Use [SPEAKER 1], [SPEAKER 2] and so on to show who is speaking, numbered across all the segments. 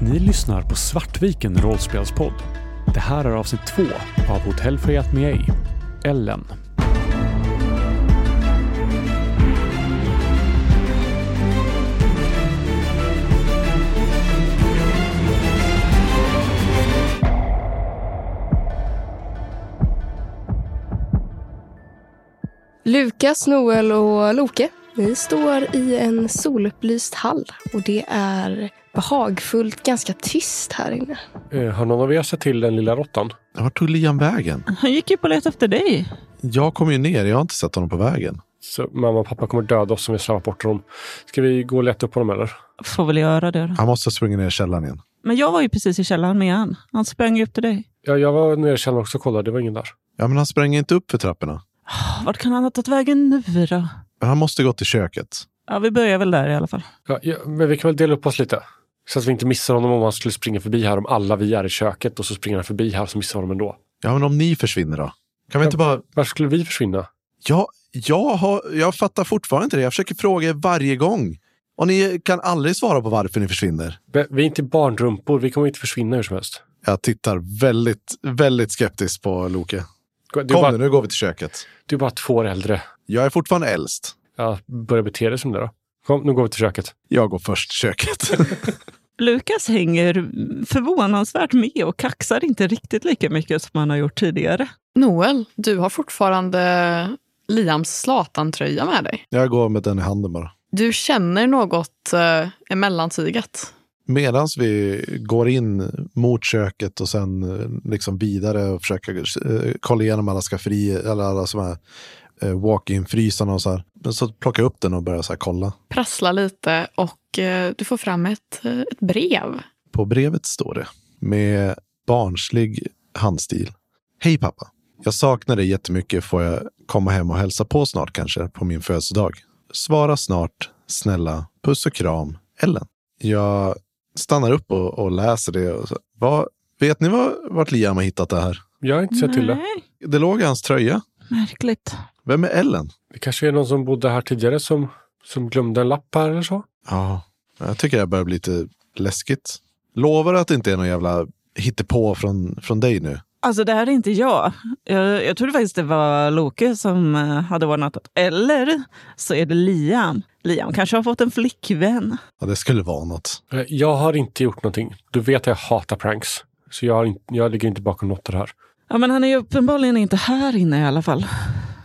[SPEAKER 1] Ni lyssnar på Svartviken rollspelspodd. Det här är avsnitt två av Hotell Fayettemiei, Ellen.
[SPEAKER 2] Lukas, Noel och Loke. Ni står i en solupplyst hall och det är behagfullt, ganska tyst här inne.
[SPEAKER 3] Eh, Har någon av er sett till den lilla råttan?
[SPEAKER 4] Vart tog Liam vägen?
[SPEAKER 5] Han gick ju på let efter dig.
[SPEAKER 4] Jag kom ju ner, jag har inte sett honom på vägen.
[SPEAKER 3] Så mamma och pappa kommer döda oss om vi slarvar bort dem. Ska vi gå och leta upp honom eller?
[SPEAKER 5] Får väl göra det då.
[SPEAKER 4] Han måste ha sprungit ner i källaren igen.
[SPEAKER 5] Men jag var ju precis i källaren med han. Han sprang ju upp till dig.
[SPEAKER 3] Ja, jag var nere i källaren också och kollade. Det var ingen där.
[SPEAKER 4] Ja, men han sprang inte upp för trapporna.
[SPEAKER 5] Ah, Vart kan han ha tagit vägen nu då?
[SPEAKER 4] Han måste gått till köket.
[SPEAKER 5] Ja, vi börjar väl där i alla fall.
[SPEAKER 3] Ja, ja, men vi kan väl dela upp oss lite? Så att vi inte missar honom om han skulle springa förbi här om alla vi är i köket och så springer han förbi här så missar vi honom ändå.
[SPEAKER 4] Ja, men om ni försvinner då? Kan vi inte bara...
[SPEAKER 3] Varför skulle vi försvinna?
[SPEAKER 4] Ja, jag, har... jag fattar fortfarande inte det. Jag försöker fråga er varje gång. Och ni kan aldrig svara på varför ni försvinner.
[SPEAKER 3] Vi vi är inte barnrumpor. Vi kommer inte försvinna hur som helst.
[SPEAKER 4] Jag tittar väldigt, väldigt skeptiskt på Loke.
[SPEAKER 3] Du är,
[SPEAKER 4] Kom
[SPEAKER 3] bara,
[SPEAKER 4] nu, nu går vi till köket.
[SPEAKER 3] du är bara två år äldre.
[SPEAKER 4] Jag är fortfarande äldst.
[SPEAKER 3] Ja, börja bete dig som det då. Kom, nu går vi till köket.
[SPEAKER 4] Jag går först till köket.
[SPEAKER 5] Lukas hänger förvånansvärt med och kaxar inte riktigt lika mycket som han har gjort tidigare.
[SPEAKER 6] Noel, du har fortfarande Liams Zlatan-tröja med dig.
[SPEAKER 4] jag går med den i handen bara.
[SPEAKER 6] Du känner något eh, emellantyget.
[SPEAKER 4] Medan vi går in mot köket och sen eh, liksom vidare och försöker eh, kolla igenom alla skafferier, eller alla som är eh, walk-in-frysarna och så här. Men så plockar jag upp den och börjar så här kolla.
[SPEAKER 6] Prasslar lite och eh, du får fram ett, eh, ett brev.
[SPEAKER 4] På brevet står det med barnslig handstil. Hej pappa! Jag saknar dig jättemycket. Får jag komma hem och hälsa på snart kanske på min födelsedag? Svara snart. Snälla. Puss och kram. Ellen. Jag stannar upp och, och läser det. Och så, vad, vet ni vad, vart Liam har hittat det här?
[SPEAKER 3] Jag har inte sett till det.
[SPEAKER 5] Nej,
[SPEAKER 4] Det låg i hans tröja.
[SPEAKER 5] märkligt.
[SPEAKER 4] Vem är Ellen?
[SPEAKER 3] Det kanske är någon som bodde här tidigare som, som glömde en lapp här eller så.
[SPEAKER 4] Ja, jag tycker det här börjar bli lite läskigt. Lovar du att det inte är någon jävla hittepå från, från dig nu?
[SPEAKER 5] Alltså det här är inte jag. jag. Jag trodde faktiskt det var Loke som eh, hade ordnat det. Eller så är det Liam. Liam kanske har fått en flickvän.
[SPEAKER 4] Ja, det skulle vara något.
[SPEAKER 3] Eh, Jag har inte gjort någonting. Du vet att jag hatar pranks. Så jag, har in, jag ligger inte bakom något av det här.
[SPEAKER 5] Ja, men han är ju uppenbarligen inte här inne i alla fall.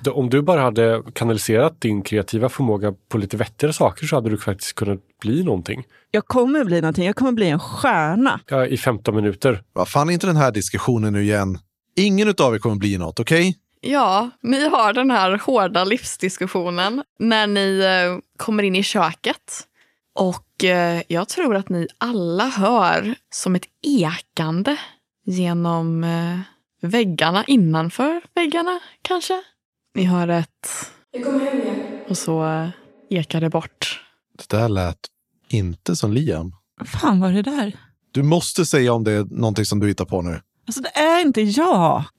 [SPEAKER 3] Då, Om du bara hade kanaliserat din kreativa förmåga på lite vettigare saker så hade du faktiskt kunnat bli någonting.
[SPEAKER 5] Jag kommer bli någonting. Jag kommer bli en stjärna.
[SPEAKER 3] Ja, I 15 minuter.
[SPEAKER 4] Vad fan är inte den här diskussionen nu igen? Ingen av er kommer bli något, okej?
[SPEAKER 6] Ja, ni har den här hårda livsdiskussionen när ni eh, kommer in i köket. Och eh, jag tror att ni alla hör som ett ekande genom eh, väggarna, innanför väggarna kanske. Ni hör ett... Och så eh, ekar det bort.
[SPEAKER 4] Det där lät inte som Liam.
[SPEAKER 5] fan var det där?
[SPEAKER 4] Du måste säga om det är någonting som du hittar på nu.
[SPEAKER 5] Alltså det är inte jag.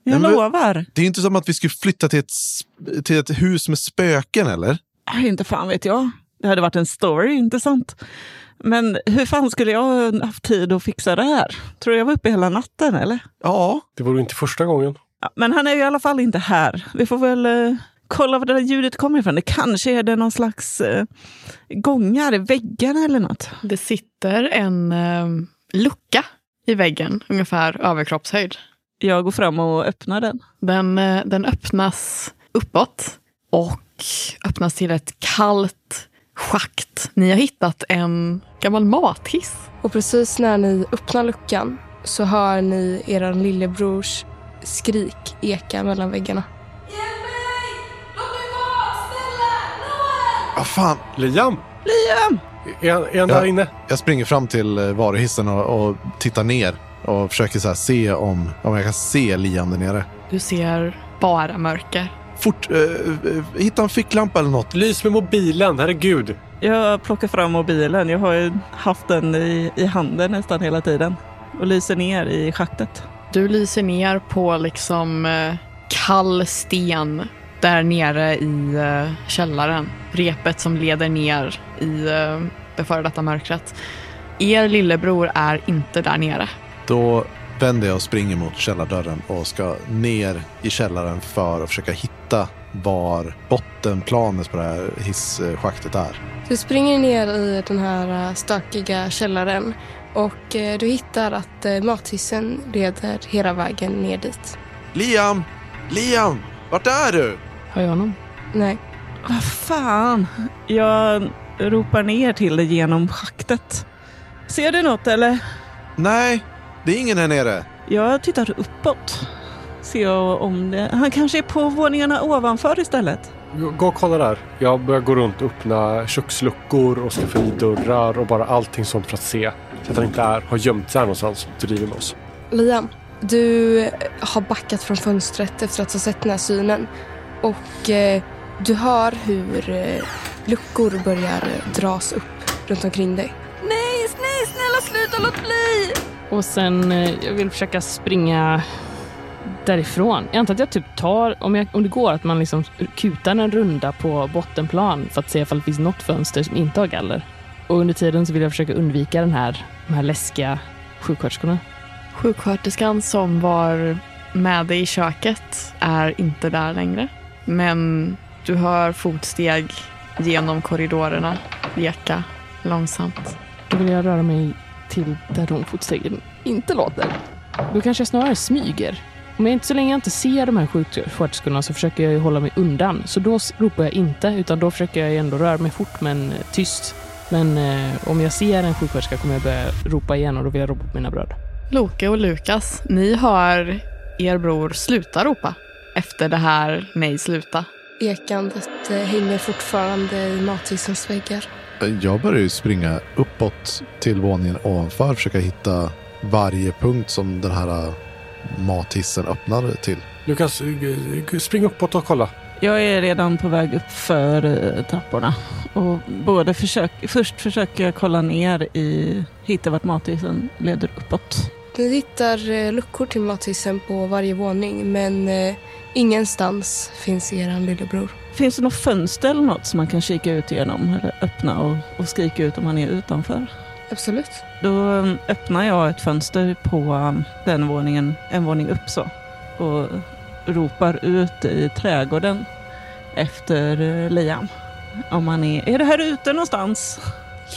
[SPEAKER 5] Jag
[SPEAKER 4] Nej, men-
[SPEAKER 5] lovar.
[SPEAKER 4] Det är inte som att vi skulle flytta till ett, s- till ett hus med spöken, eller?
[SPEAKER 5] Äh, inte fan vet jag. Det hade varit en story, inte sant? Men hur fan skulle jag haft tid att fixa det här? Tror du jag var uppe hela natten eller?
[SPEAKER 4] Ja,
[SPEAKER 3] Det vore inte första gången.
[SPEAKER 5] Ja, men han är ju i alla fall inte här. Vi får väl eh, kolla var det där ljudet kommer ifrån. Det kanske är det någon slags eh, gångar i väggarna eller något.
[SPEAKER 6] Det sitter en eh, lucka i väggen, ungefär överkroppshöjd.
[SPEAKER 5] Jag går fram och öppnar den.
[SPEAKER 6] Den, eh, den öppnas uppåt och öppnas till ett kallt schakt. Ni har hittat en gammal mathiss.
[SPEAKER 2] Och precis när ni öppnar luckan så hör ni er lillebrors skrik eka mellan väggarna.
[SPEAKER 4] vad fan.
[SPEAKER 3] Liam!
[SPEAKER 5] Liam!
[SPEAKER 3] Är han, är han
[SPEAKER 4] Ja.
[SPEAKER 3] där inne?
[SPEAKER 4] Jag springer fram till eh, varuhissen och, och tittar ner och försöker så här se om, om jag kan se Liam där nere.
[SPEAKER 6] Du ser bara mörker.
[SPEAKER 4] Fort, eh, eh, hitta en ficklampa eller något.
[SPEAKER 3] Lys med mobilen, herregud!
[SPEAKER 5] Jag plockar fram mobilen. Jag har ju haft den i, i handen nästan hela tiden. Och lyser ner i schaktet.
[SPEAKER 6] Du lyser ner på liksom eh, kall sten där nere i eh, källaren. Repet som leder ner i eh, det före detta mörkret. Er lillebror är inte där nere.
[SPEAKER 4] Då vänder jag och springer mot källardörren och ska ner i källaren för att försöka hitta var bottenplanet på det här hisschaktet är.
[SPEAKER 2] Du springer ner i den här eh, stökiga källaren och eh, du hittar att eh, mathissen leder hela vägen ner dit.
[SPEAKER 4] Liam! Liam! Vart är du?
[SPEAKER 6] Hör jag honom?
[SPEAKER 2] Nej.
[SPEAKER 5] Vad fan? Jag ropar ner till dig genom schaktet. Ser du något eller?
[SPEAKER 4] Nej, det är ingen här nere.
[SPEAKER 5] Jag tittar uppåt. Ser jag om det... Han kanske är på våningarna ovanför istället.
[SPEAKER 3] Gå och kolla där. Jag börjar gå runt och öppna köksluckor och skafferidörrar och bara allting sånt för att se. Så att han inte är, har gömt sig här någonstans och driver med oss.
[SPEAKER 2] Liam, du eh, har backat från fönstret efter att ha sett den här synen. Och eh, du hör hur eh, luckor börjar eh, dras upp runt omkring dig.
[SPEAKER 7] Nej, nej, snälla sluta, låt bli! Och sen, eh, jag vill försöka springa därifrån. Jag antar att jag typ tar, om, jag, om det går, att man liksom kutar en runda på bottenplan för att se ifall det finns något fönster som inte har galler. Och under tiden så vill jag försöka undvika den här, de här läskiga sjuksköterskorna.
[SPEAKER 6] Sjuksköterskan som var med dig i köket är inte där längre. Men du hör fotsteg genom korridorerna leka långsamt.
[SPEAKER 7] Då vill jag röra mig till där de fotstegen inte låter. Då kanske jag snarare smyger. Om jag inte, så länge jag inte ser de här sjuksköterskorna så försöker jag ju hålla mig undan. Så då s- ropar jag inte, utan då försöker jag ju ändå röra mig fort men eh, tyst. Men eh, om jag ser en sjuksköterska kommer jag börja ropa igen och då vill jag ropa på mina bröder.
[SPEAKER 6] Loke och Lukas, ni hör er bror sluta ropa efter det här nej sluta.
[SPEAKER 2] Ekandet eh, hänger fortfarande i mathissens väggar.
[SPEAKER 4] Jag börjar ju springa uppåt till våningen ovanför och försöka hitta varje punkt som den här äh, mathissen öppnar till.
[SPEAKER 3] Lukas, eh, eh, spring uppåt och kolla.
[SPEAKER 5] Jag är redan på väg upp för eh, trapporna. Och både försök, först försöker jag kolla ner i... Hitta vart matisen leder uppåt.
[SPEAKER 2] Du hittar eh, luckor till mathissen på varje våning men eh, ingenstans finns er lillebror.
[SPEAKER 5] Finns det något fönster eller något som man kan kika ut genom? Eller öppna och, och skrika ut om man är utanför?
[SPEAKER 2] Absolut.
[SPEAKER 5] Då eh, öppnar jag ett fönster på eh, den våningen, en våning upp så. Och ropar ut i trädgården efter eh, Liam. Om han är... Är det här ute någonstans?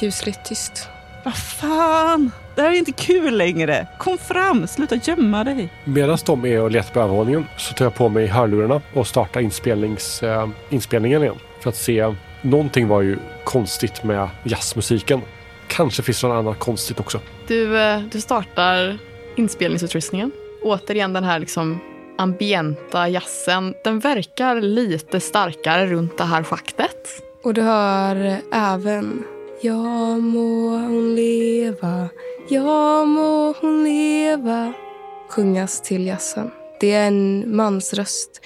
[SPEAKER 2] Kusligt tyst.
[SPEAKER 5] Vad fan! Det här är inte kul längre. Kom fram, sluta gömma dig.
[SPEAKER 3] Medan de är och letar på övervåningen så tar jag på mig hörlurarna och startar inspelnings, eh, inspelningen igen. För att se. Någonting var ju konstigt med jazzmusiken. Kanske finns det något annat konstigt också.
[SPEAKER 6] Du, eh, du startar inspelningsutrustningen. Återigen den här liksom ambienta jazzen. Den verkar lite starkare runt det här schaktet.
[SPEAKER 2] Och du hör eh, även Jag må hon leva, jag må hon leva sjungas till jazzen. Det är en mansröst.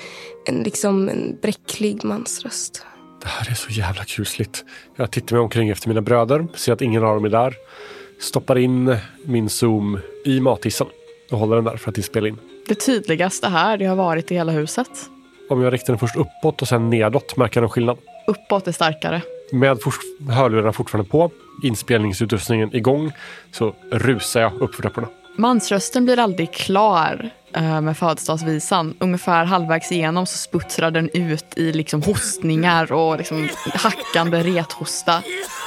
[SPEAKER 2] En, liksom en bräcklig mansröst.
[SPEAKER 3] Det här är så jävla kusligt. Jag tittar mig omkring efter mina bröder, ser att ingen av dem är där. Stoppar in min zoom i mathissen och håller den där för att inspela in.
[SPEAKER 6] Det tydligaste här det har varit i hela huset.
[SPEAKER 3] Om jag riktar den först uppåt och sen nedåt märker jag någon skillnad.
[SPEAKER 6] Uppåt är starkare.
[SPEAKER 3] Med fors- hörlurarna fortfarande på, inspelningsutrustningen igång, så rusar jag upp för trapporna.
[SPEAKER 6] Mansrösten blir aldrig klar eh, med födelsedagsvisan. Ungefär halvvägs igenom så sputtrar den ut i liksom hostningar och liksom hackande rethosta.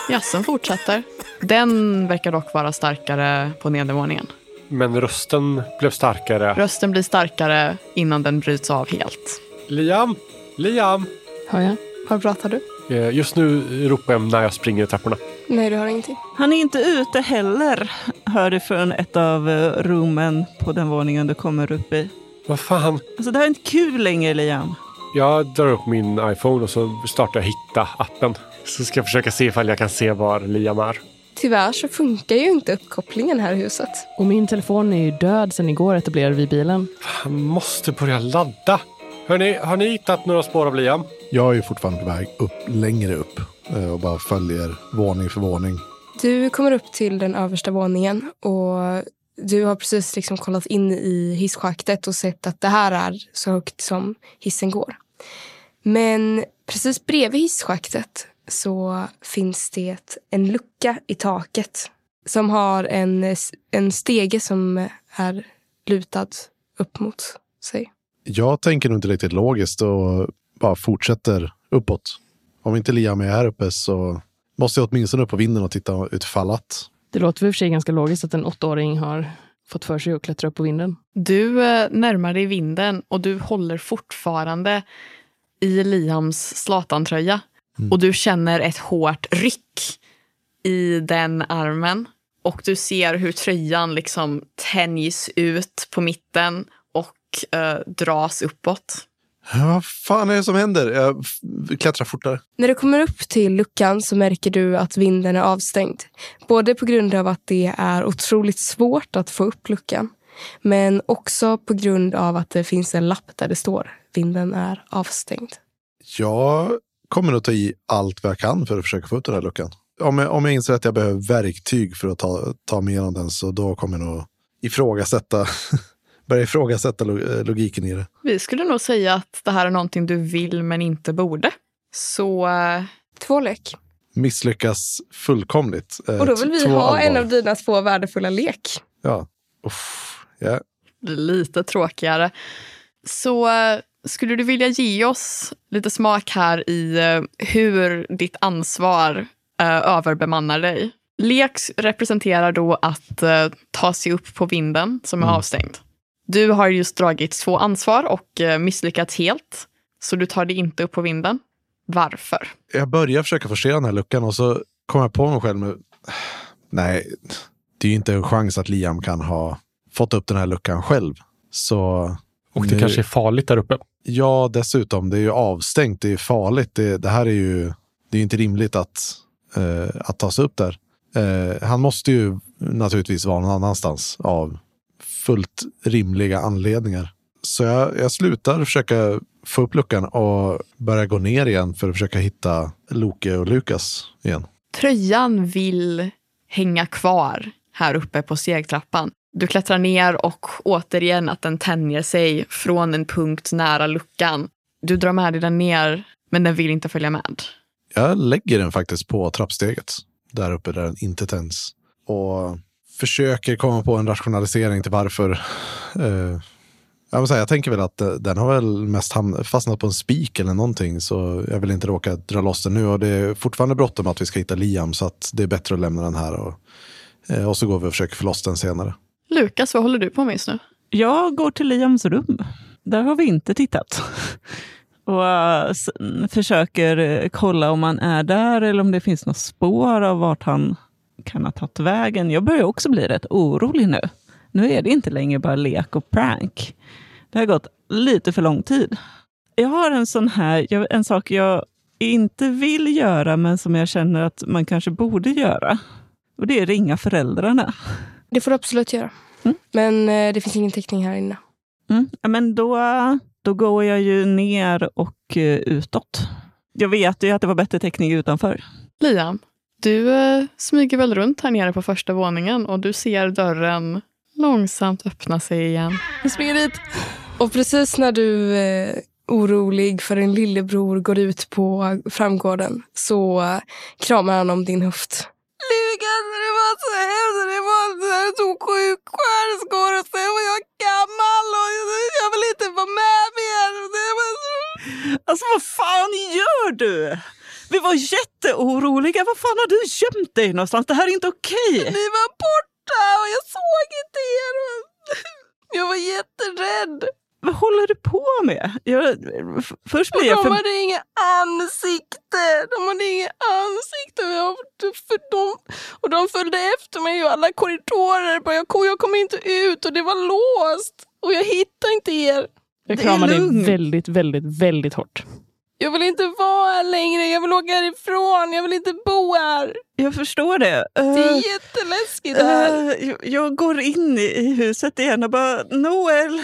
[SPEAKER 6] Jazzen fortsätter. Den verkar dock vara starkare på nedervåningen.
[SPEAKER 3] Men rösten blev starkare.
[SPEAKER 6] Rösten blir starkare innan den bryts av helt.
[SPEAKER 3] Liam! Liam!
[SPEAKER 7] Hör jag?
[SPEAKER 2] Vad pratar du?
[SPEAKER 3] Eh, Just nu ropar jag när jag springer i trapporna.
[SPEAKER 2] Nej, du hör ingenting.
[SPEAKER 5] Han är inte ute heller, hör du från ett av eh, rummen på den våningen du kommer upp i.
[SPEAKER 3] Vad fan?
[SPEAKER 5] Alltså det här är inte kul längre Liam.
[SPEAKER 3] Jag drar upp min iPhone och så startar jag Hitta-appen. Så ska jag försöka se ifall jag kan se var Liam är.
[SPEAKER 2] Tyvärr så funkar ju inte uppkopplingen här i huset.
[SPEAKER 7] Och min telefon är ju död sen igår etablerade vi bilen.
[SPEAKER 3] Han måste börja ladda. Hörni, har ni hittat några spår av Liam?
[SPEAKER 4] Jag är ju fortfarande på väg upp, längre upp eh, och bara följer våning för våning.
[SPEAKER 2] Du kommer upp till den översta våningen och du har precis liksom kollat in i hisschaktet och sett att det här är så högt som hissen går. Men precis bredvid hisschaktet så finns det en lucka i taket Som har en, eh, s- en stege som är lutad upp mot sig.
[SPEAKER 4] Jag tänker nog inte riktigt logiskt och bara fortsätter uppåt. Om inte Liam är här uppe så måste jag åtminstone upp på vinden och titta utifall att.
[SPEAKER 7] Det låter i och för sig ganska logiskt att en åttaåring har fått för sig att klättra upp på vinden.
[SPEAKER 6] Du eh, närmar dig vinden och du håller fortfarande i Liams slatantröja. Och du känner ett hårt ryck i den armen. Och du ser hur tröjan liksom tänjs ut på mitten och eh, dras uppåt.
[SPEAKER 4] Vad fan är det som händer? Jag f- klättrar fortare.
[SPEAKER 2] När du kommer upp till luckan så märker du att vinden är avstängd. Både på grund av att det är otroligt svårt att få upp luckan. Men också på grund av att det finns en lapp där det står vinden är avstängd.
[SPEAKER 4] Jag kommer att ta i allt vad jag kan för att försöka få ut den här luckan. Om jag, om jag inser att jag behöver verktyg för att ta, ta mig igenom den så då kommer jag nog ifrågasätta, börja ifrågasätta lo- eh, logiken i det.
[SPEAKER 6] Vi skulle nog säga att det här är någonting du vill men inte borde. Så eh,
[SPEAKER 2] Två lek.
[SPEAKER 4] Misslyckas fullkomligt. eh,
[SPEAKER 2] Och då vill vi
[SPEAKER 4] två
[SPEAKER 2] ha en
[SPEAKER 4] allvar.
[SPEAKER 2] av dina två värdefulla lek.
[SPEAKER 4] Ja. Uff, ja.
[SPEAKER 6] blir lite tråkigare. Så eh, skulle du vilja ge oss lite smak här i eh, hur ditt ansvar eh, överbemannar dig? Lek representerar då att eh, ta sig upp på vinden som är avstängd. Du har just dragit två ansvar och eh, misslyckats helt, så du tar dig inte upp på vinden. Varför?
[SPEAKER 4] jag börjar försöka forcera den här luckan och så kom jag på mig själv med nej, det är ju inte en chans att Liam kan ha fått upp den här luckan själv. Så
[SPEAKER 1] Och det
[SPEAKER 4] Nu-
[SPEAKER 1] kanske är farligt där uppe.
[SPEAKER 4] ja, dessutom, det är ju avstängt, det är farligt, det, det här är ju, det är ju inte rimligt att, eh, att ta sig upp där. Eh, han måste ju naturligtvis vara någon annanstans av fullt rimliga anledningar. Så jag, jag slutar försöka få upp luckan och börjar gå ner igen för att försöka hitta Loke och Lukas igen.
[SPEAKER 6] Tröjan vill hänga kvar här uppe på stegtrappan. Du klättrar ner och återigen att den tänjer sig från en punkt nära luckan. Du drar med dig den ner, men den vill inte följa med.
[SPEAKER 4] Jag lägger den faktiskt på trappsteget där uppe där den inte tänds och försöker komma på en rationalisering till varför. Eh, jag, vill säga, jag tänker väl att eh, den har väl mest hamn- fastnat på en spik eller någonting så jag vill inte råka dra loss den nu och det är fortfarande bråttom att vi ska hitta Liam så att det är bättre att lämna den här och, eh, och så går vi och försöker få loss den senare.
[SPEAKER 6] Lukas, vad håller du på med just nu?
[SPEAKER 5] Jag går till Liams rum. Där har vi inte tittat. Och eh, s- försöker eh, kolla om han är där eller om det finns några spår av vart han kan ha tagit vägen. Jag börjar också bli rätt orolig nu. Nu är det inte längre bara lek och prank. Det har gått lite för lång tid. Jag har en sån här, jag- en sak jag inte vill göra men som jag känner att man kanske borde göra. Och det är ringa föräldrarna.
[SPEAKER 2] Det får du absolut göra.
[SPEAKER 5] Mm.
[SPEAKER 2] Men eh, det finns ingen täckning här inne.
[SPEAKER 5] Mm. Ja, men då, då går jag ju ner och eh, utåt. Jag vet ju att det var bättre täckning utanför.
[SPEAKER 6] Liam, du eh, smyger väl runt här nere på första våningen och du ser dörren långsamt öppna sig igen.
[SPEAKER 2] Jag springer dit. Och precis när du eh, orolig för din lillebror går ut på framgården så eh, kramar han om din höft. Lukas, det var så hemskt. Det var jag tog sju skärskor och sen var jag gammal och jag vill inte vara med mer. Det var så...
[SPEAKER 5] Alltså vad fan gör du? Vi var jätteoroliga. Vad fan har du gömt dig någonstans? Det här är inte okej.
[SPEAKER 2] Ni var borta och jag såg inte er. Jag var jätterädd.
[SPEAKER 5] Vad håller du på med? Jag, f- först blir jag
[SPEAKER 2] Och de
[SPEAKER 5] för...
[SPEAKER 2] hade inget ansikte. De hade inget ansikte. Och, jag, för de, och de följde efter mig i alla korridorer. Bara, Jag kom, jag kom inte ut och det var låst. Och jag hittade inte er.
[SPEAKER 7] Jag
[SPEAKER 5] Det är
[SPEAKER 7] kramar dig
[SPEAKER 5] lugnt.
[SPEAKER 7] väldigt, väldigt, väldigt hårt.
[SPEAKER 2] Jag vill inte vara här längre. Jag vill åka härifrån. Jag vill inte bo här.
[SPEAKER 5] Jag förstår det.
[SPEAKER 2] Det
[SPEAKER 5] Eh,
[SPEAKER 2] är jätteläskigt här.
[SPEAKER 5] eh, jag- jag går in i- i huset igen och bara Noel,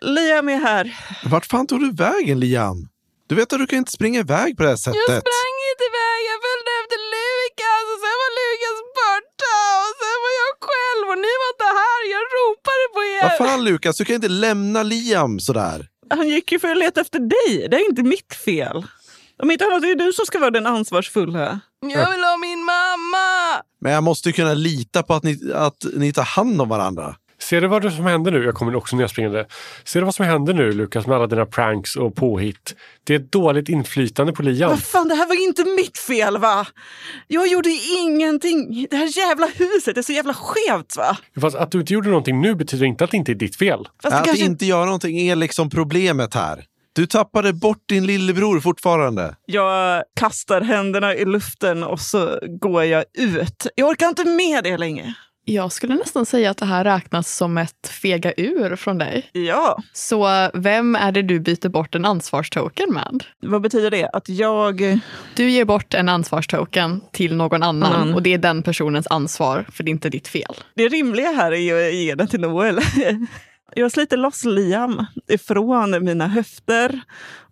[SPEAKER 5] Liam är här.
[SPEAKER 4] Vart fan tog du vägen Liam? Du vet att du kan inte springa iväg på det här sättet.
[SPEAKER 2] Jag sprang inte iväg. Jag följde efter Lukas och sen var Lukas borta. Och sen var jag själv och ni var inte här. Jag ropade på er.
[SPEAKER 4] Vad fan Lukas, du kan inte lämna Liam sådär.
[SPEAKER 5] Han gick ju för att leta efter dig. Det är inte mitt fel. Om inte annat är det du som ska vara den ansvarsfulla.
[SPEAKER 2] Jag vill ha min mamma!
[SPEAKER 4] Men jag måste ju kunna lita på att ni, att ni tar hand om varandra.
[SPEAKER 3] Ser du vad det som händer nu? Jag kommer också ner springande. Ser du vad som händer nu Lukas med alla dina pranks och påhitt? Det är ett dåligt inflytande på Liam.
[SPEAKER 8] Vad fan, det här var inte mitt fel va? Jag gjorde ingenting. Det här jävla huset är så jävla skevt va?
[SPEAKER 3] Fast att du inte gjorde någonting nu betyder inte att det inte är ditt fel.
[SPEAKER 8] Fast det
[SPEAKER 4] att
[SPEAKER 8] kanske...
[SPEAKER 4] inte göra någonting är liksom problemet här. Du tappade bort din lillebror fortfarande.
[SPEAKER 8] Jag kastar händerna i luften och så går jag ut. Jag orkar inte med det längre.
[SPEAKER 6] Jag skulle nästan säga att det här räknas som ett fega ur från dig.
[SPEAKER 8] Ja,
[SPEAKER 6] Så eh, vem är det du byter bort en ansvarstoken med?
[SPEAKER 8] vad betyder det? Att jag...
[SPEAKER 6] Du ger bort en ansvarstoken till någon annan
[SPEAKER 5] Annan.
[SPEAKER 6] och det är den personens ansvar för det är inte ditt fel.
[SPEAKER 8] Det rimliga här är ju att ge den till Noel. Jag sliter loss Liam ifrån mina höfter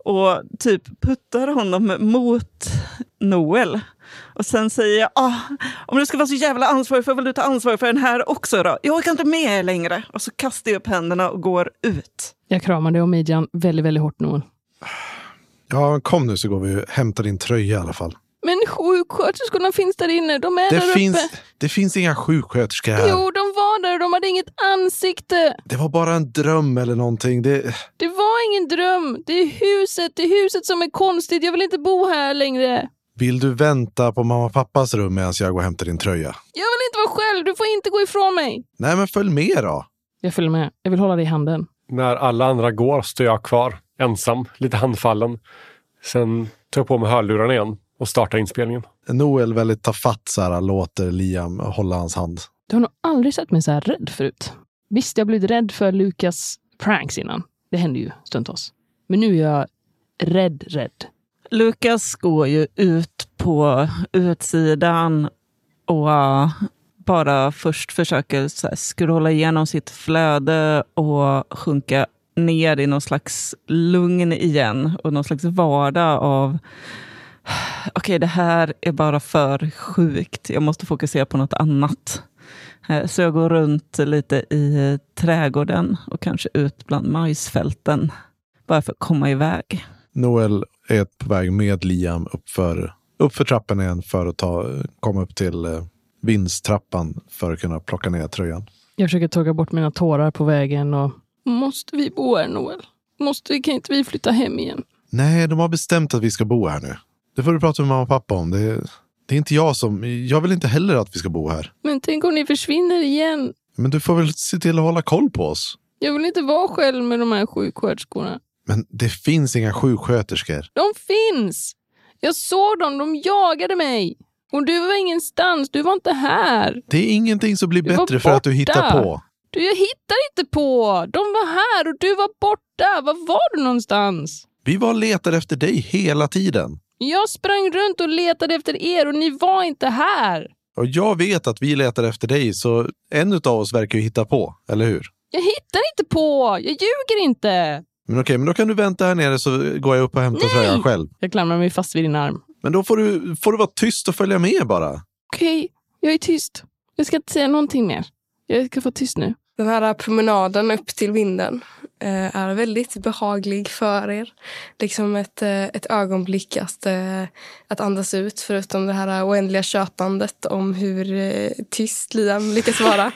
[SPEAKER 8] och typ puttar honom mot Noel. Och sen säger jag, ah, om du ska vara så jävla ansvarig för, vill du ta ansvar för den här också då? Jag orkar inte med er längre. Och så kastar jag upp händerna och går ut.
[SPEAKER 7] Jag kramar dig om midjan väldigt, väldigt hårt Noel.
[SPEAKER 4] Ja, kom nu så går vi och hämtar din tröja i alla fall.
[SPEAKER 9] Men sjuksköterskorna finns där inne. De är
[SPEAKER 4] Det
[SPEAKER 9] där
[SPEAKER 4] finns,
[SPEAKER 9] uppe.
[SPEAKER 4] det finns inga sjuksköterskor här.
[SPEAKER 9] Jo, de var där och de hade inget ansikte.
[SPEAKER 4] Det var bara en dröm eller någonting. Det,
[SPEAKER 9] Det var ingen dröm. Det är huset. Det är huset som är konstigt. Jag vill inte bo här längre.
[SPEAKER 4] vill du vänta på mamma och pappas rum medan jag går och hämtar din tröja?
[SPEAKER 9] Jag vill inte vara själv. Du får inte gå ifrån mig.
[SPEAKER 4] Nej, men följ med då.
[SPEAKER 7] Jag följer med. Jag vill hålla dig i handen.
[SPEAKER 3] När alla andra går står jag kvar, ensam, lite handfallen. Sen tar jag på mig hörlurarna igen och startar inspelningen.
[SPEAKER 4] Noel väldigt tafatt så här, låter Liam hålla hans hand.
[SPEAKER 7] Du har nog aldrig sett mig så här rädd förut. Visst, jag har blivit rädd för Lukas pranks innan. Det händer ju stundtals. Men nu är jag rädd, rädd.
[SPEAKER 5] Lukas går ju ut på utsidan och äh, bara först försöker så här scrolla igenom sitt flöde och sjunka ner i någon slags lugn igen och någon slags vardag av okej, det här är bara för sjukt. Jag måste fokusera på något annat. Eh, Så jag går runt lite i trädgården och kanske ut bland majsfälten bara för att komma iväg.
[SPEAKER 4] Noel är på väg med Liam uppför, uppför trappen igen för att ta, komma upp till eh, vindstrappan för att kunna plocka ner tröjan.
[SPEAKER 7] Jag försöker torka bort mina tårar på vägen och
[SPEAKER 9] Måste vi bo här, Noel? Måste vi, kan inte vi flytta hem igen?
[SPEAKER 4] Nej, de har bestämt att vi ska bo här nu. Det får du prata med mamma och pappa om. Det, det är inte jag som... Jag vill inte heller att vi ska bo här.
[SPEAKER 9] Men tänk om ni försvinner igen.
[SPEAKER 4] Men du får väl se till att hålla koll på oss.
[SPEAKER 9] Jag vill inte vara själv med de här sjuksköterskorna.
[SPEAKER 4] Men det finns inga sjuksköterskor.
[SPEAKER 9] De finns! Jag såg dem. De jagade mig. Och du var ingenstans. Du var inte här.
[SPEAKER 4] Det är ingenting som blir
[SPEAKER 9] Du var
[SPEAKER 4] bättre för att du
[SPEAKER 9] borta.
[SPEAKER 4] hittar på.
[SPEAKER 9] Du, jag hittar inte på! De var här och du var borta. Var var du någonstans?
[SPEAKER 4] Vi var och letade efter dig hela tiden.
[SPEAKER 9] Jag sprang runt och letade efter er och ni var inte här.
[SPEAKER 4] Och jag vet att vi letar efter dig, så en av oss verkar ju hitta på, eller hur?
[SPEAKER 9] Jag hittar inte på! Jag ljuger inte!
[SPEAKER 4] Men okej, men då kan du vänta här nere så går jag upp och hämtar tröjan själv.
[SPEAKER 7] jag klamrar mig fast vid din arm.
[SPEAKER 4] Men då får du, får du vara tyst och följa med bara.
[SPEAKER 9] Okej, jag är tyst. Jag ska inte säga någonting mer. Jag ska vara tyst nu.
[SPEAKER 2] Den här promenaden upp till vinden eh, är väldigt behaglig för er. Liksom ett, eh, ett ögonblick att, eh, att andas ut förutom det här oändliga tjötandet om hur eh, tyst Liam lyckas vara.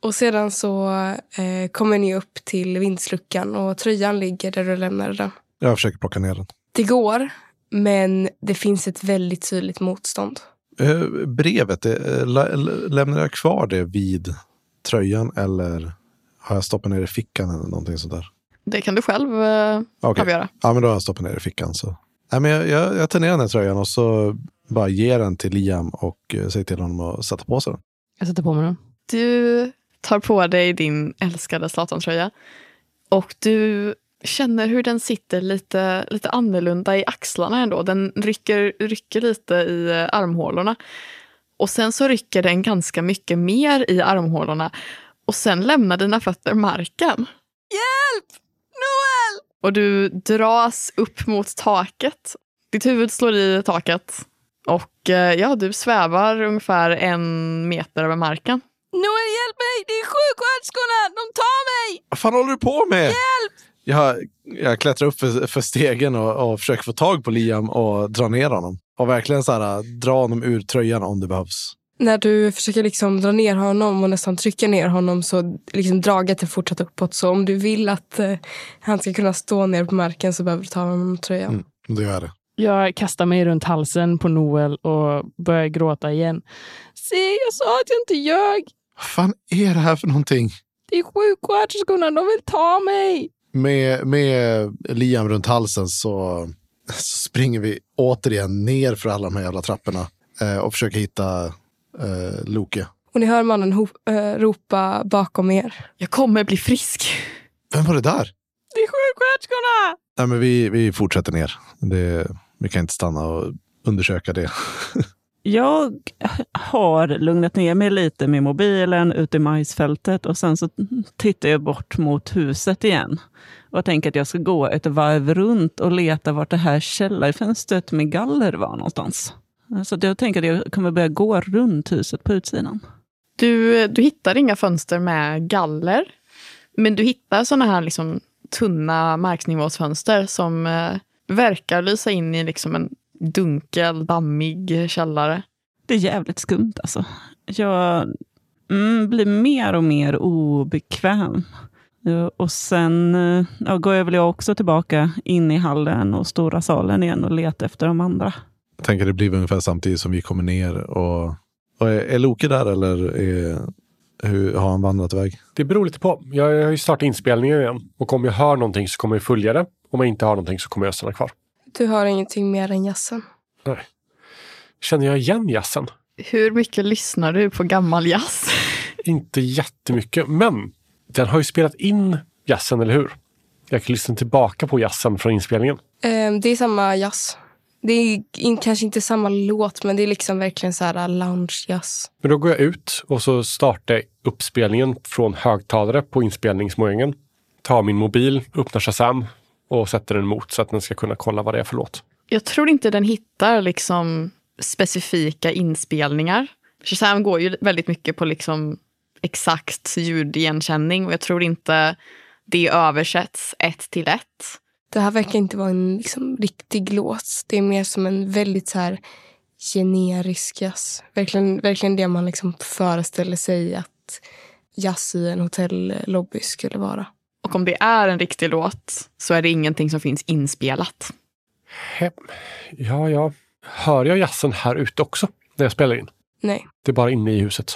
[SPEAKER 2] och sedan så eh, kommer ni upp till vindsluckan och tröjan ligger där du lämnade den.
[SPEAKER 4] Jag försöker plocka ner den.
[SPEAKER 2] Det går, men det finns ett väldigt tydligt motstånd.
[SPEAKER 4] Eh, brevet, eh, la- l- lämnar jag kvar det vid tröjan eller har jag stoppat ner det i fickan eller någonting sånt där?
[SPEAKER 6] Det kan du själv eh,
[SPEAKER 4] Okej,
[SPEAKER 6] avgöra.
[SPEAKER 4] ja, men då har jag stoppat ner det i fickan. Så. Nej, men jag, jag, jag tar ner den här tröjan och så bara ger den till Liam och eh, säger till honom att sätta på sig den.
[SPEAKER 7] Jag sätter på mig den.
[SPEAKER 6] Du tar på dig din älskade Zlatan-tröja och du känner hur den sitter lite, lite annorlunda i axlarna ändå. Den rycker, rycker lite i eh, armhålorna. Och sen så rycker den ganska mycket mer i armhålorna och sen lämnar dina fötter marken. Hjälp! Noel! Och du dras upp mot taket. Ditt huvud slår i taket och eh, ja, du svävar ungefär en meter över marken.
[SPEAKER 9] Noel, hjälp mig! Det är sjuksköterskorna! De tar mig!
[SPEAKER 4] Vad fan håller du på med? Hjälp! Jag, jag klättrar upp för, för stegen och, och försöker få tag på Liam och dra ner honom. Och verkligen så här, dra honom ur tröjan om det behövs.
[SPEAKER 2] När du försöker liksom dra ner honom och nästan trycka ner honom så liksom draget är fortsatt uppåt. Så om du vill att eh, han ska kunna stå ner på marken så behöver du ta av honom tröjan.
[SPEAKER 4] Mm. Det gör det.
[SPEAKER 9] Jag kastar mig runt halsen på Noel och börjar gråta igen.
[SPEAKER 10] Se, jag sa att jag inte ljög.
[SPEAKER 4] Vad fan är det här för någonting?
[SPEAKER 10] Det är sjuksköterskorna, de vill ta mig.
[SPEAKER 4] Med, med Liam runt halsen så, så springer vi återigen ner för alla de här jävla trapporna eh, och försöker hitta eh, Loke.
[SPEAKER 2] Och ni hör mannen ho- eh, ropa bakom er.
[SPEAKER 6] Jag kommer bli frisk.
[SPEAKER 4] Vem var det där?
[SPEAKER 11] Det är sjuksköterskorna!
[SPEAKER 4] Nej, men vi, vi fortsätter ner. Det, vi kan inte stanna och undersöka det.
[SPEAKER 5] Jag har lugnat ner mig lite med mobilen ute i majsfältet och sen så tittar jag bort mot huset igen. Och jag tänker att jag ska gå ett varv runt och leta vart det här källarfönstret med galler var någonstans. Så att jag tänker att jag kommer börja gå runt huset på utsidan.
[SPEAKER 6] Du, du hittar inga fönster med galler. Men du hittar såna här liksom tunna marknivåsfönster som eh, verkar lysa in i liksom en dunkel, dammig källare.
[SPEAKER 5] Det är jävligt skumt alltså. Jag mm, blir mer och mer obekväm. Ja, Och sen eh, ja, går jag väl jag också tillbaka in i hallen och stora salen igen och letar efter de andra.
[SPEAKER 4] Jag tänker det blir ungefär samtidigt som vi kommer ner. Och, och är, är Loke där eller är, hur, har han vandrat iväg?
[SPEAKER 3] Det beror lite på. Jag jag har ju startat inspelningen igen och om jag hör någonting så kommer jag följa det. Om jag inte hör någonting så kommer jag stanna kvar.
[SPEAKER 2] Du hör ingenting mer än jassen.
[SPEAKER 3] Känner jag igen jazzen?
[SPEAKER 6] Hur mycket lyssnar du på gammal jazz?
[SPEAKER 3] Inte jättemycket, men den har ju spelat in jazzen, eller hur? Jag kan lyssna tillbaka på jazzen från inspelningen.
[SPEAKER 2] Ehm, det är samma jazz. Det är in, kanske inte samma låt men det är liksom verkligen så här lounge-jazz.
[SPEAKER 3] Men då går jag ut och så startar jag uppspelningen från högtalare på inspelningsmojängen. Tar min mobil, öppnar Shazam och sätter den mot så att den ska kunna kolla vad det är för låt.
[SPEAKER 6] Jag tror inte den hittar liksom specifika inspelningar. Shazam går ju väldigt mycket på liksom exakt ljudigenkänning och jag tror inte det översätts ett till ett.
[SPEAKER 2] Det här verkar inte vara en liksom, riktig låt. Det är mer som en väldigt så här generisk jazz. Verkligen, verkligen det man liksom föreställer sig att jazz i en hotellobby skulle vara.
[SPEAKER 6] Och om det är en riktig låt så är det ingenting som finns inspelat.
[SPEAKER 3] Hem. Ja, ja. Hör jag jazzen här ute också när jag spelar in?
[SPEAKER 2] Nej.
[SPEAKER 3] Det är bara inne i huset.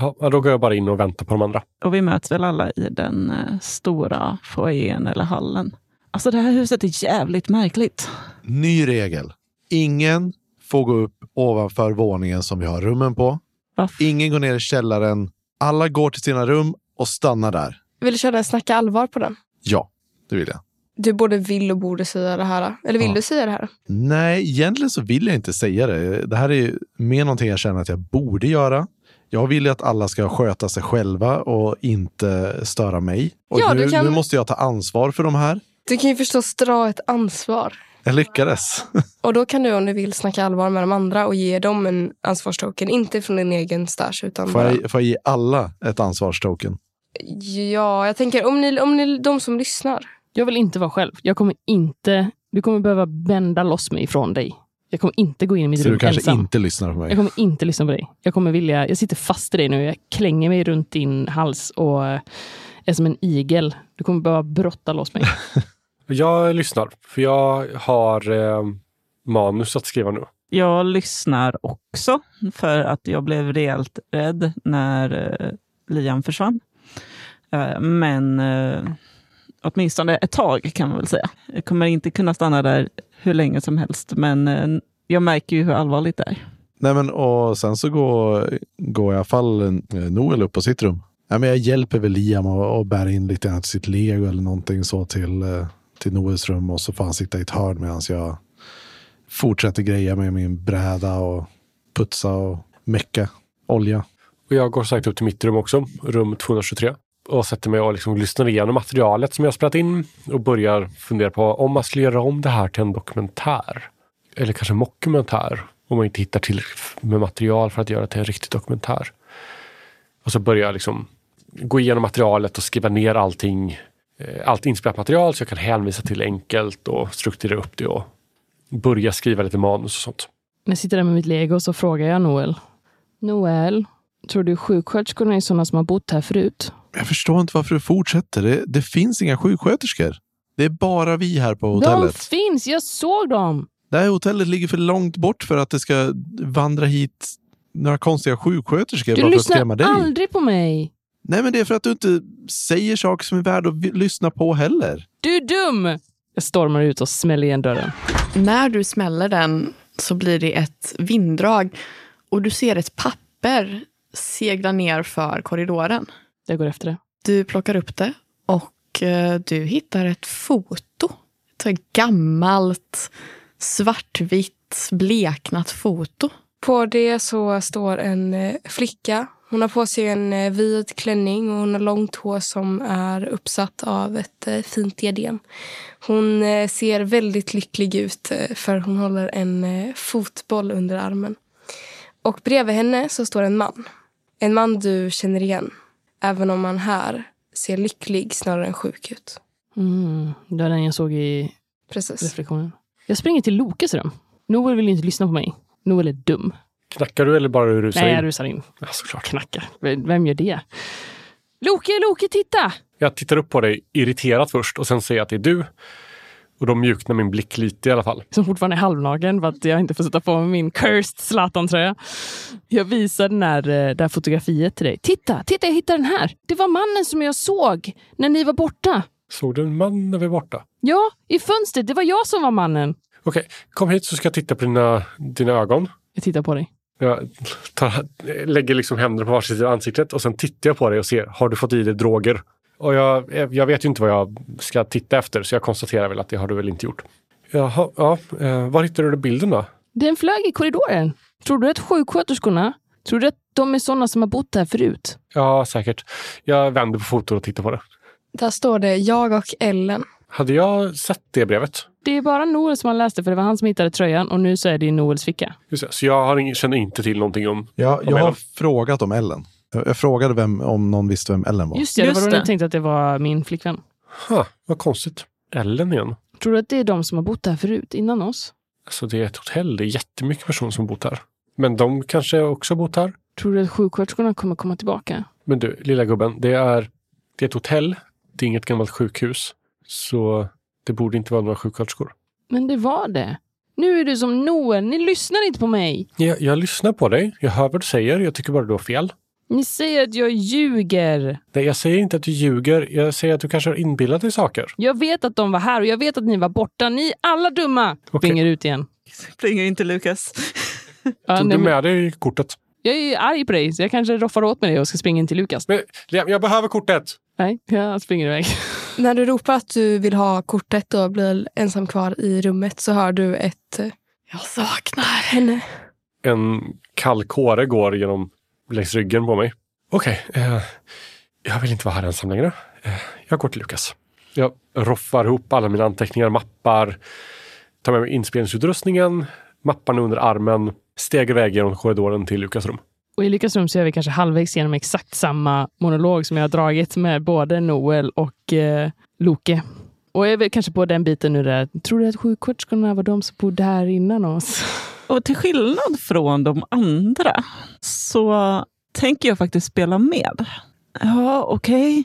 [SPEAKER 3] Ja, ja, då går jag bara in och väntar på de andra.
[SPEAKER 5] Och vi möts väl alla i den eh, stora foajén eller hallen. Alltså det här huset är jävligt märkligt.
[SPEAKER 4] Ny regel. Ingen får gå upp ovanför våningen som vi har rummen på.
[SPEAKER 5] Va?
[SPEAKER 4] Ingen går ner i källaren. Alla går till sina rum och stannar där.
[SPEAKER 2] Vill du köra en snacka allvar på den?
[SPEAKER 4] Ja, det vill jag.
[SPEAKER 2] Du både vill och borde säga det här. Eller vill
[SPEAKER 4] Ja.
[SPEAKER 2] du säga det här?
[SPEAKER 4] Nej, egentligen så vill jag inte säga det. Det här är ju mer någonting jag känner att jag borde göra. Jag vill ju att alla ska sköta sig själva och inte störa mig. Och
[SPEAKER 2] Ja, du
[SPEAKER 4] nu,
[SPEAKER 2] kan-
[SPEAKER 4] nu måste jag ta ansvar för de här.
[SPEAKER 2] Du kan ju förstås dra ett ansvar.
[SPEAKER 4] Jag lyckades.
[SPEAKER 2] Och då kan du om du vill snacka allvar med de andra och ge dem en ansvarstoken. Inte från din egen stash utan
[SPEAKER 4] Får
[SPEAKER 2] bara...
[SPEAKER 4] jag, får jag ge alla ett ansvarstoken?
[SPEAKER 2] Ja, jag tänker om ni, om ni, de som lyssnar.
[SPEAKER 9] Jag vill inte vara själv. Jag kommer inte... Du kommer behöva bända loss mig ifrån dig. Jag kommer inte gå in i mitt
[SPEAKER 4] Så
[SPEAKER 9] rum
[SPEAKER 4] du kanske
[SPEAKER 9] ensam.
[SPEAKER 4] inte lyssnar på
[SPEAKER 9] Jag
[SPEAKER 4] mig.
[SPEAKER 9] kommer inte lyssna på dig. Jag kommer vilja... Jag sitter fast i dig nu. Jag klänger mig runt din hals och eh, är som en igel. Du kommer behöva brotta loss mig.
[SPEAKER 3] Jag lyssnar, för jag har eh, manus att skriva nu.
[SPEAKER 5] Jag lyssnar också för att jag blev rejält rädd när eh, Liam försvann. Eh, men eh, åtminstone ett tag kan man väl säga. Jag kommer inte kunna stanna där hur länge som helst, men eh, jag märker ju hur allvarligt det är.
[SPEAKER 4] Nej, men, och sen så går, går i alla fall eh, Noel upp på sitt rum. Ja, men jag hjälper väl Liam och, och bär in lite grann till sitt lego eller någonting så till, eh, till Noels rum och så får han sitta i ett hörn medan jag fortsätter greja med min bräda och putsa och mecka olja.
[SPEAKER 3] Och jag går sagt upp till mitt rum också, rum 223. Och sätter mig och liksom lyssnar igenom materialet som jag har spelat in och börjar fundera på om man skulle göra om det här till en dokumentär. Eller kanske en mockumentär. Om man inte hittar tillräckligt med material för att göra till en riktig dokumentär. Och så börjar jag liksom gå igenom materialet och skriva ner allting. eh, Allt inspelat material så jag kan hänvisa till enkelt och strukturera upp det och börja skriva lite manus och sånt.
[SPEAKER 9] När jag sitter där med mitt lego så frågar jag Noel. Noel, tror du sjuksköterskorna är sådana som har bott här förut?
[SPEAKER 4] Jag förstår inte varför du fortsätter. Det, det finns inga sjuksköterskor. Det är bara vi här på
[SPEAKER 9] De
[SPEAKER 4] hotellet.
[SPEAKER 9] finns! Jag såg dem!
[SPEAKER 4] Det här hotellet ligger för långt bort för att det ska vandra hit några konstiga sjuksköterskor
[SPEAKER 9] Du
[SPEAKER 4] bara för att skrämma
[SPEAKER 9] lyssnar
[SPEAKER 4] dig.
[SPEAKER 9] aldrig på mig!
[SPEAKER 4] Nej, men det är för att du inte säger saker som är värda att vi- lyssna på heller.
[SPEAKER 9] Du är dum! Jag stormar ut och smäller igen dörren.
[SPEAKER 6] När du smäller den så blir det ett vinddrag och du ser ett papper segla ner för korridoren.
[SPEAKER 9] Jag går efter det.
[SPEAKER 6] Du plockar upp det och eh, du hittar ett foto. Ett gammalt, svartvitt, bleknat foto.
[SPEAKER 2] På det så står en eh, flicka. Hon har på sig en eh, vit klänning och hon har långt hår som är uppsatt av ett eh, fint diadem. Hon eh, ser väldigt lycklig ut eh, för hon håller en eh, fotboll under armen. Och bredvid henne så står en man. En man du känner igen, även om han här ser lycklig snarare än sjuk ut.
[SPEAKER 9] Mm, det var den jag såg i
[SPEAKER 2] Precis.
[SPEAKER 9] reflektionen. Jag springer till Lokes rum. Noel vill ju inte lyssna på mig. Noel är dum.
[SPEAKER 4] Mm.
[SPEAKER 3] Knackar du eller bara du rusar
[SPEAKER 9] Nej, jag
[SPEAKER 3] in?
[SPEAKER 9] rusar in.
[SPEAKER 3] Ja, såklart.
[SPEAKER 9] Knacka. V- Vem gör det? Loke, Loke, titta!
[SPEAKER 3] Jag tittar upp på dig irriterat först och sen ser jag att det är du. Och då mjuknar min blick lite i alla fall.
[SPEAKER 9] Som fortfarande är halvnagen för att jag inte får sätta på mig min cursed Zlatan-tröja. Jag visar den här, eh, det här fotografiet till dig. Titta, titta, jag hittade den här! Det var mannen som jag såg när ni var borta.
[SPEAKER 3] Såg du en man när vi var borta?
[SPEAKER 9] Ja, i fönstret. Det var jag som var mannen.
[SPEAKER 3] Okej, kom hit så ska jag titta på dina, dina ögon.
[SPEAKER 9] Jag tittar på dig.
[SPEAKER 3] Jag tar, lägger liksom händerna på varsin sida av ansiktet och sen tittar jag på dig och ser, har du fått i dig droger? Och jag, jag vet ju inte vad jag ska titta efter så jag konstaterar väl att det har du väl inte gjort. Jaha, ja. eh, Var hittade du bilden då?
[SPEAKER 9] Den flög i korridoren. Tror du att sjuksköterskorna, tror du att de är sådana som har bott här förut?
[SPEAKER 3] Ja, säkert. Jag vänder på fotot och tittar på det.
[SPEAKER 2] Där står det jag och Ellen.
[SPEAKER 3] Hade jag sett det brevet?
[SPEAKER 9] Det är bara Noel som han läste för det var han som hittade tröjan och nu så är det i Noels ficka.
[SPEAKER 3] Just det, Så jag har ing- känner inte till någonting om...
[SPEAKER 4] Jag, jag
[SPEAKER 3] menar
[SPEAKER 4] har
[SPEAKER 3] du?
[SPEAKER 4] frågat om Ellen. Jag, jag frågade vem, om någon visste vem Ellen var.
[SPEAKER 9] Just det, det
[SPEAKER 5] Just
[SPEAKER 9] var då
[SPEAKER 5] det.
[SPEAKER 9] ni tänkte att det var min flickvän.
[SPEAKER 3] Huh, vad konstigt. Ellen igen.
[SPEAKER 9] Tror du att det är de som har bott här förut, innan oss?
[SPEAKER 3] Alltså det är ett hotell, det är jättemycket personer som bott här. Men de kanske också bott här.
[SPEAKER 9] Tror du att sjuksköterskorna kommer komma tillbaka?
[SPEAKER 3] Men du, lilla gubben, det är, det är ett hotell. Det är inget gammalt sjukhus. Så det borde inte vara några sjuksköterskor.
[SPEAKER 9] Men det var det. Nu är du som Noel, ni lyssnar inte på mig.
[SPEAKER 3] Jag, jag lyssnar på dig, jag hör vad du säger, jag tycker bara du har fel.
[SPEAKER 9] Ni säger att jag ljuger.
[SPEAKER 3] Nej, jag säger inte att du ljuger, jag säger att du kanske har inbillat dig saker.
[SPEAKER 9] Jag vet att de var här och jag vet att ni var borta. Ni är alla dumma! Springer ut igen.
[SPEAKER 5] Springer inte Lukas.
[SPEAKER 9] Ja,
[SPEAKER 3] Tog
[SPEAKER 9] nej,
[SPEAKER 3] du
[SPEAKER 9] men-
[SPEAKER 3] med dig kortet?
[SPEAKER 9] Jag är ju arg på dig, så jag kanske roffar åt mig det och ska springa in till Lukas.
[SPEAKER 3] Men, Liam, jag behöver kortet!
[SPEAKER 9] Nej, jag springer iväg.
[SPEAKER 2] När du ropar att du vill ha kortet och blir ensam kvar i rummet så hör du ett eh,
[SPEAKER 6] Jag saknar.
[SPEAKER 2] henne.
[SPEAKER 3] En kall kåre går genom längs ryggen på mig. Okej, eh, jag vill inte vara här ensam längre. Eh, jag går till Lukas. Jag roffar ihop alla mina anteckningar, mappar, tar med mig inspelningsutrustningen, mapparna under armen, stegar iväg genom korridoren till Lukas rum.
[SPEAKER 9] Och i Lukas rum så är vi kanske halvvägs genom exakt samma monolog som jag har dragit med både Noel och eh, Loke. Och jag är väl kanske på den biten nu där, tror du att sjuksköterskorna var de som bodde här innan oss?
[SPEAKER 5] Och till skillnad från de andra så tänker jag faktiskt spela med. Ja, okej.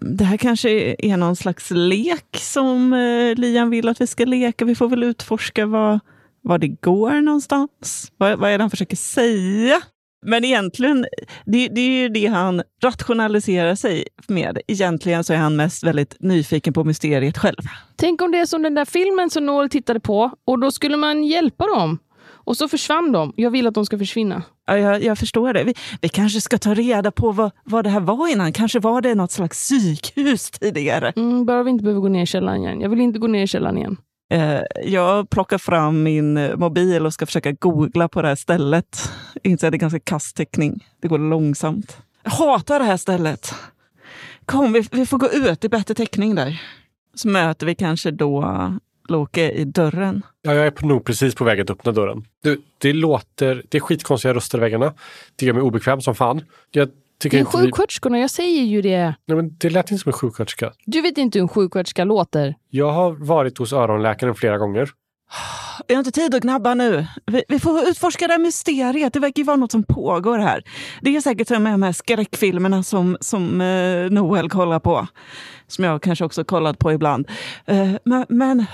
[SPEAKER 5] Det här kanske är någon slags lek som eh, Lian vill att vi ska leka. Vi får väl utforska vad, vad det går någonstans. Vad, vad är det han försöker säga? Men egentligen, det, det är ju det han rationaliserar sig med. Egentligen så är han mest väldigt nyfiken på mysteriet själv.
[SPEAKER 9] Tänk om det är som den där filmen som Noel tittade på och då skulle man hjälpa dem. Och så försvann de. Jag vill att de ska försvinna.
[SPEAKER 5] Ja, jag, jag förstår det. Vi, vi kanske ska ta reda på vad, vad det här var innan. Kanske var det något slags psykhus tidigare.
[SPEAKER 9] Mm, bara vi inte behöver gå ner i källaren igen. Jag vill inte gå ner i källaren igen.
[SPEAKER 5] Eh, jag plockar fram min eh, mobil och ska försöka googla på det här stället. Inser att det är ganska kass täckning. Det går långsamt. Jag hatar det här stället. Kom, vi, vi får gå ut. Det är bättre täckning där. Så möter vi kanske då Loke i dörren.
[SPEAKER 3] Ja, jag är nog precis på väg att öppna dörren. Du, det låter... Det är skitkonstiga röster i väggarna. Det gör mig obekväm som fan. Jag tycker
[SPEAKER 9] Det är
[SPEAKER 3] inte... Vi,
[SPEAKER 9] sjuksköterskorna, jag säger ju det.
[SPEAKER 3] nej, men det lät inte som en sjuksköterska.
[SPEAKER 9] Du vet inte hur en sjuksköterska låter.
[SPEAKER 3] Jag har varit hos öronläkaren flera gånger.
[SPEAKER 5] Jag har inte tid att gnabba nu. Vi, vi får utforska det här mysteriet. Det verkar ju vara något som pågår här. Det är säkert som med de här skräckfilmerna som, som eh, Noel kollar på. Som jag kanske också kollat på ibland. Eh, men, men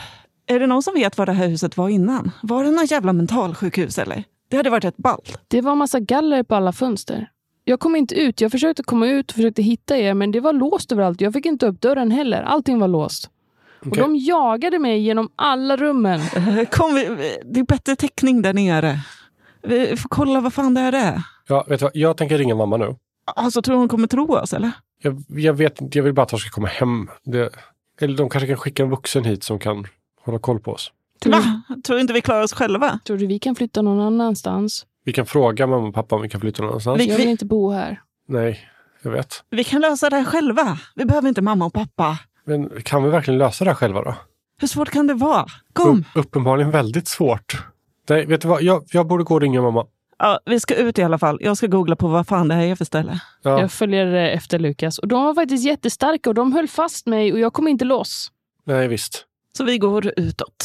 [SPEAKER 5] är det någon som vet vad det här huset var innan? Var det någon jävla mentalsjukhus eller? Det hade varit ett ballt.
[SPEAKER 9] Det var massa galler på alla fönster. Jag kom inte ut. Jag försökte komma ut och försökte hitta er, men det var låst överallt. Jag fick inte upp dörren heller. Allting var låst. Och
[SPEAKER 3] Okej.
[SPEAKER 9] de jagade mig genom alla rummen.
[SPEAKER 5] Eh, Kom, vi- vi, det är bättre täckning där nere. Vi får kolla vad fan det här är.
[SPEAKER 3] Ja, vet du vad? Jag tänker ringa mamma nu.
[SPEAKER 5] Alltså, tror du hon kommer tro oss eller?
[SPEAKER 3] Jag, jag vet inte, jag vill bara att de ska komma hem. Det, eller de kanske kan skicka en vuxen hit som kan hålla koll på oss.
[SPEAKER 9] Tror du,
[SPEAKER 5] Va? Tror du inte vi klarar oss själva?
[SPEAKER 9] tror du vi kan flytta någon annanstans?
[SPEAKER 3] Vi kan fråga mamma och pappa om vi kan flytta någon annanstans.
[SPEAKER 5] Vi-
[SPEAKER 9] Jag vill inte bo här.
[SPEAKER 3] Nej, jag vet.
[SPEAKER 5] Vi kan lösa det här själva. Vi behöver inte mamma och pappa.
[SPEAKER 3] Men kan vi verkligen lösa det här själva då?
[SPEAKER 5] Hur svårt kan det vara? Kom!
[SPEAKER 3] Upp- uppenbarligen väldigt svårt. Nej, vet du vad? Jag, jag borde gå och ringa mamma.
[SPEAKER 5] Ja, vi ska ut i alla fall. Jag ska googla på vad fan det här är för ställe.
[SPEAKER 3] Ja,
[SPEAKER 12] Jag följer eh, efter Lukas. Och de var faktiskt jättestarka och de höll fast mig och jag kom inte loss.
[SPEAKER 3] Nej, visst.
[SPEAKER 5] Så vi går utåt.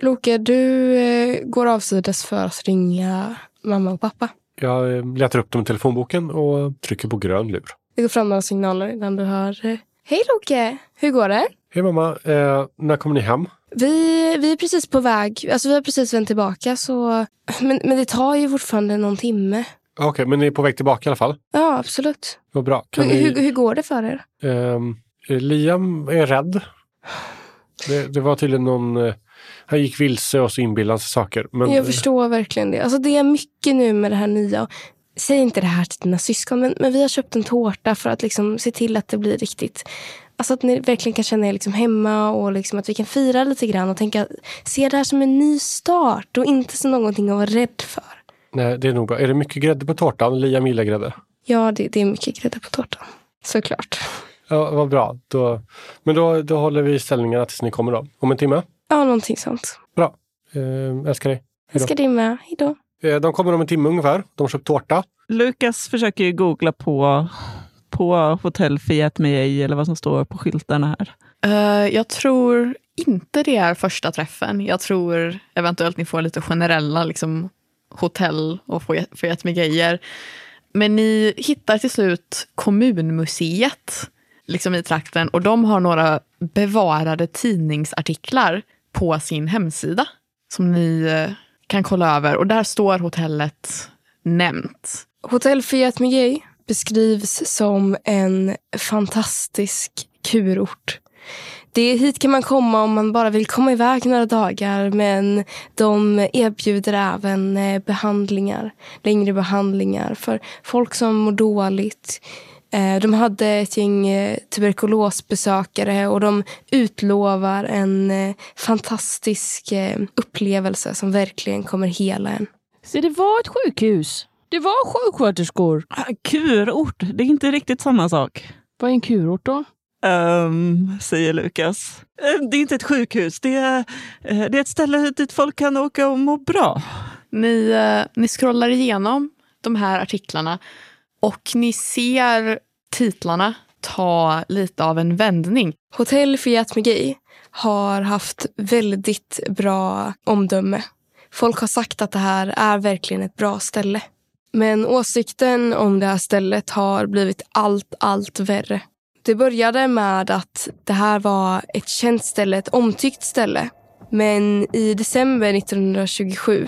[SPEAKER 2] Loke, du eh, går avsides för att ringa mamma och pappa.
[SPEAKER 3] Jag eh, letar upp dem i telefonboken och trycker på grön lur.
[SPEAKER 2] Det går fram några signaler innan du hör. eh, Hej Loke, hur går det?
[SPEAKER 3] Hej mamma, eh, när kommer ni hem?
[SPEAKER 2] Vi, vi är precis på väg. Alltså vi har precis vänt tillbaka så... Men, men det tar ju fortfarande någon timme.
[SPEAKER 3] Ja, Okej, men ni är på väg tillbaka i alla fall.
[SPEAKER 2] Ja, absolut.
[SPEAKER 3] Vad bra. Kan
[SPEAKER 2] Hur, hur,
[SPEAKER 3] ni,
[SPEAKER 2] hur går det för er?
[SPEAKER 3] ehm, eh, Liam är rädd. Det, det var tydligen någon... Eh, han gick vilse och så inbillade han sig saker. Men,
[SPEAKER 2] Jag förstår verkligen det. Alltså det är mycket nu med det här nya. Säg inte det här till dina syskon, men, men vi har köpt en tårta för att liksom se till att det blir riktigt. Alltså att ni verkligen kan känna er liksom hemma och liksom att vi kan fira lite grann och tänka, se det här som en ny start och inte som någonting att vara rädd för.
[SPEAKER 3] Nej, det är nog bra. Är det mycket grädde på tårtan? Liam gillar grädde.
[SPEAKER 2] Ja, det, det är mycket grädde på tårtan. Såklart.
[SPEAKER 3] Ja, vad bra. Då, men då, då håller vi ställningarna tills ni kommer då. Om en timme.
[SPEAKER 2] Ja, någonting sånt.
[SPEAKER 3] Eh, älskar dig.
[SPEAKER 2] Jag ska dig med. Hejdå.
[SPEAKER 3] Eh, de kommer om en timme ungefär. De har köpt tårta.
[SPEAKER 5] Lukas försöker ju googla på, på hotell Fiat Mei eller vad som står på skyltarna här.
[SPEAKER 6] Eh, jag tror inte det är första träffen. Jag tror eventuellt ni får lite generella liksom, hotell och får, får jättemycket grejer. Men ni hittar till slut kommunmuseet liksom i trakten och de har några bevarade tidningsartiklar på sin hemsida som ni eh, kan kolla över. Och där står hotellet nämnt.
[SPEAKER 2] Hotell Fiat Miguel beskrivs som en fantastisk kurort. Det är hit kan man komma om man bara vill komma iväg några dagar men de erbjuder även eh, behandlingar, längre behandlingar för folk som mår dåligt. Eh, De hade ett gäng eh, tuberkulosbesökare och de utlovar en eh, fantastisk eh, upplevelse som verkligen kommer hela en.
[SPEAKER 9] Så det var ett sjukhus. Det var sjuksköterskor.
[SPEAKER 5] Ah, Kurort, det är inte riktigt samma sak.
[SPEAKER 9] Vad är en kurort då?
[SPEAKER 5] Ehm, säger Lukas. Ehm, Det är inte ett sjukhus, det är, eh, det är ett ställe dit folk kan åka och må bra.
[SPEAKER 6] Ni, eh, ni scrollar igenom de här artiklarna och ni ser titlarna ta lite av en vändning.
[SPEAKER 2] Hotell Fiat Megi har haft väldigt bra omdöme. Folk har sagt att det här är verkligen ett bra ställe. Men åsikten om det här stället har blivit allt, allt värre. Det började med att det här var ett känt ställe, ett omtyckt ställe. Men i december 1927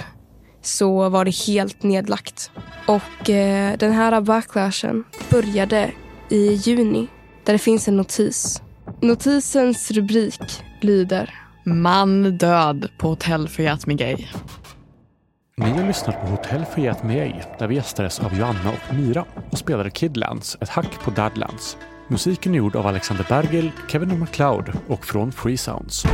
[SPEAKER 2] så var det helt nedlagt. Och eh, den här backlashen började i juni där det finns en notis Notisens rubrik lyder
[SPEAKER 6] Man död på hotell för Yatmigay.
[SPEAKER 1] Ni har lyssnat på Hotell Forget Me Ej, där vi gästades av Joanna och Mira och spelade Kidlands, ett hack på Dadlands. Musiken är gjord av Alexander Bergel, Kevin MacLeod och från Free Sounds.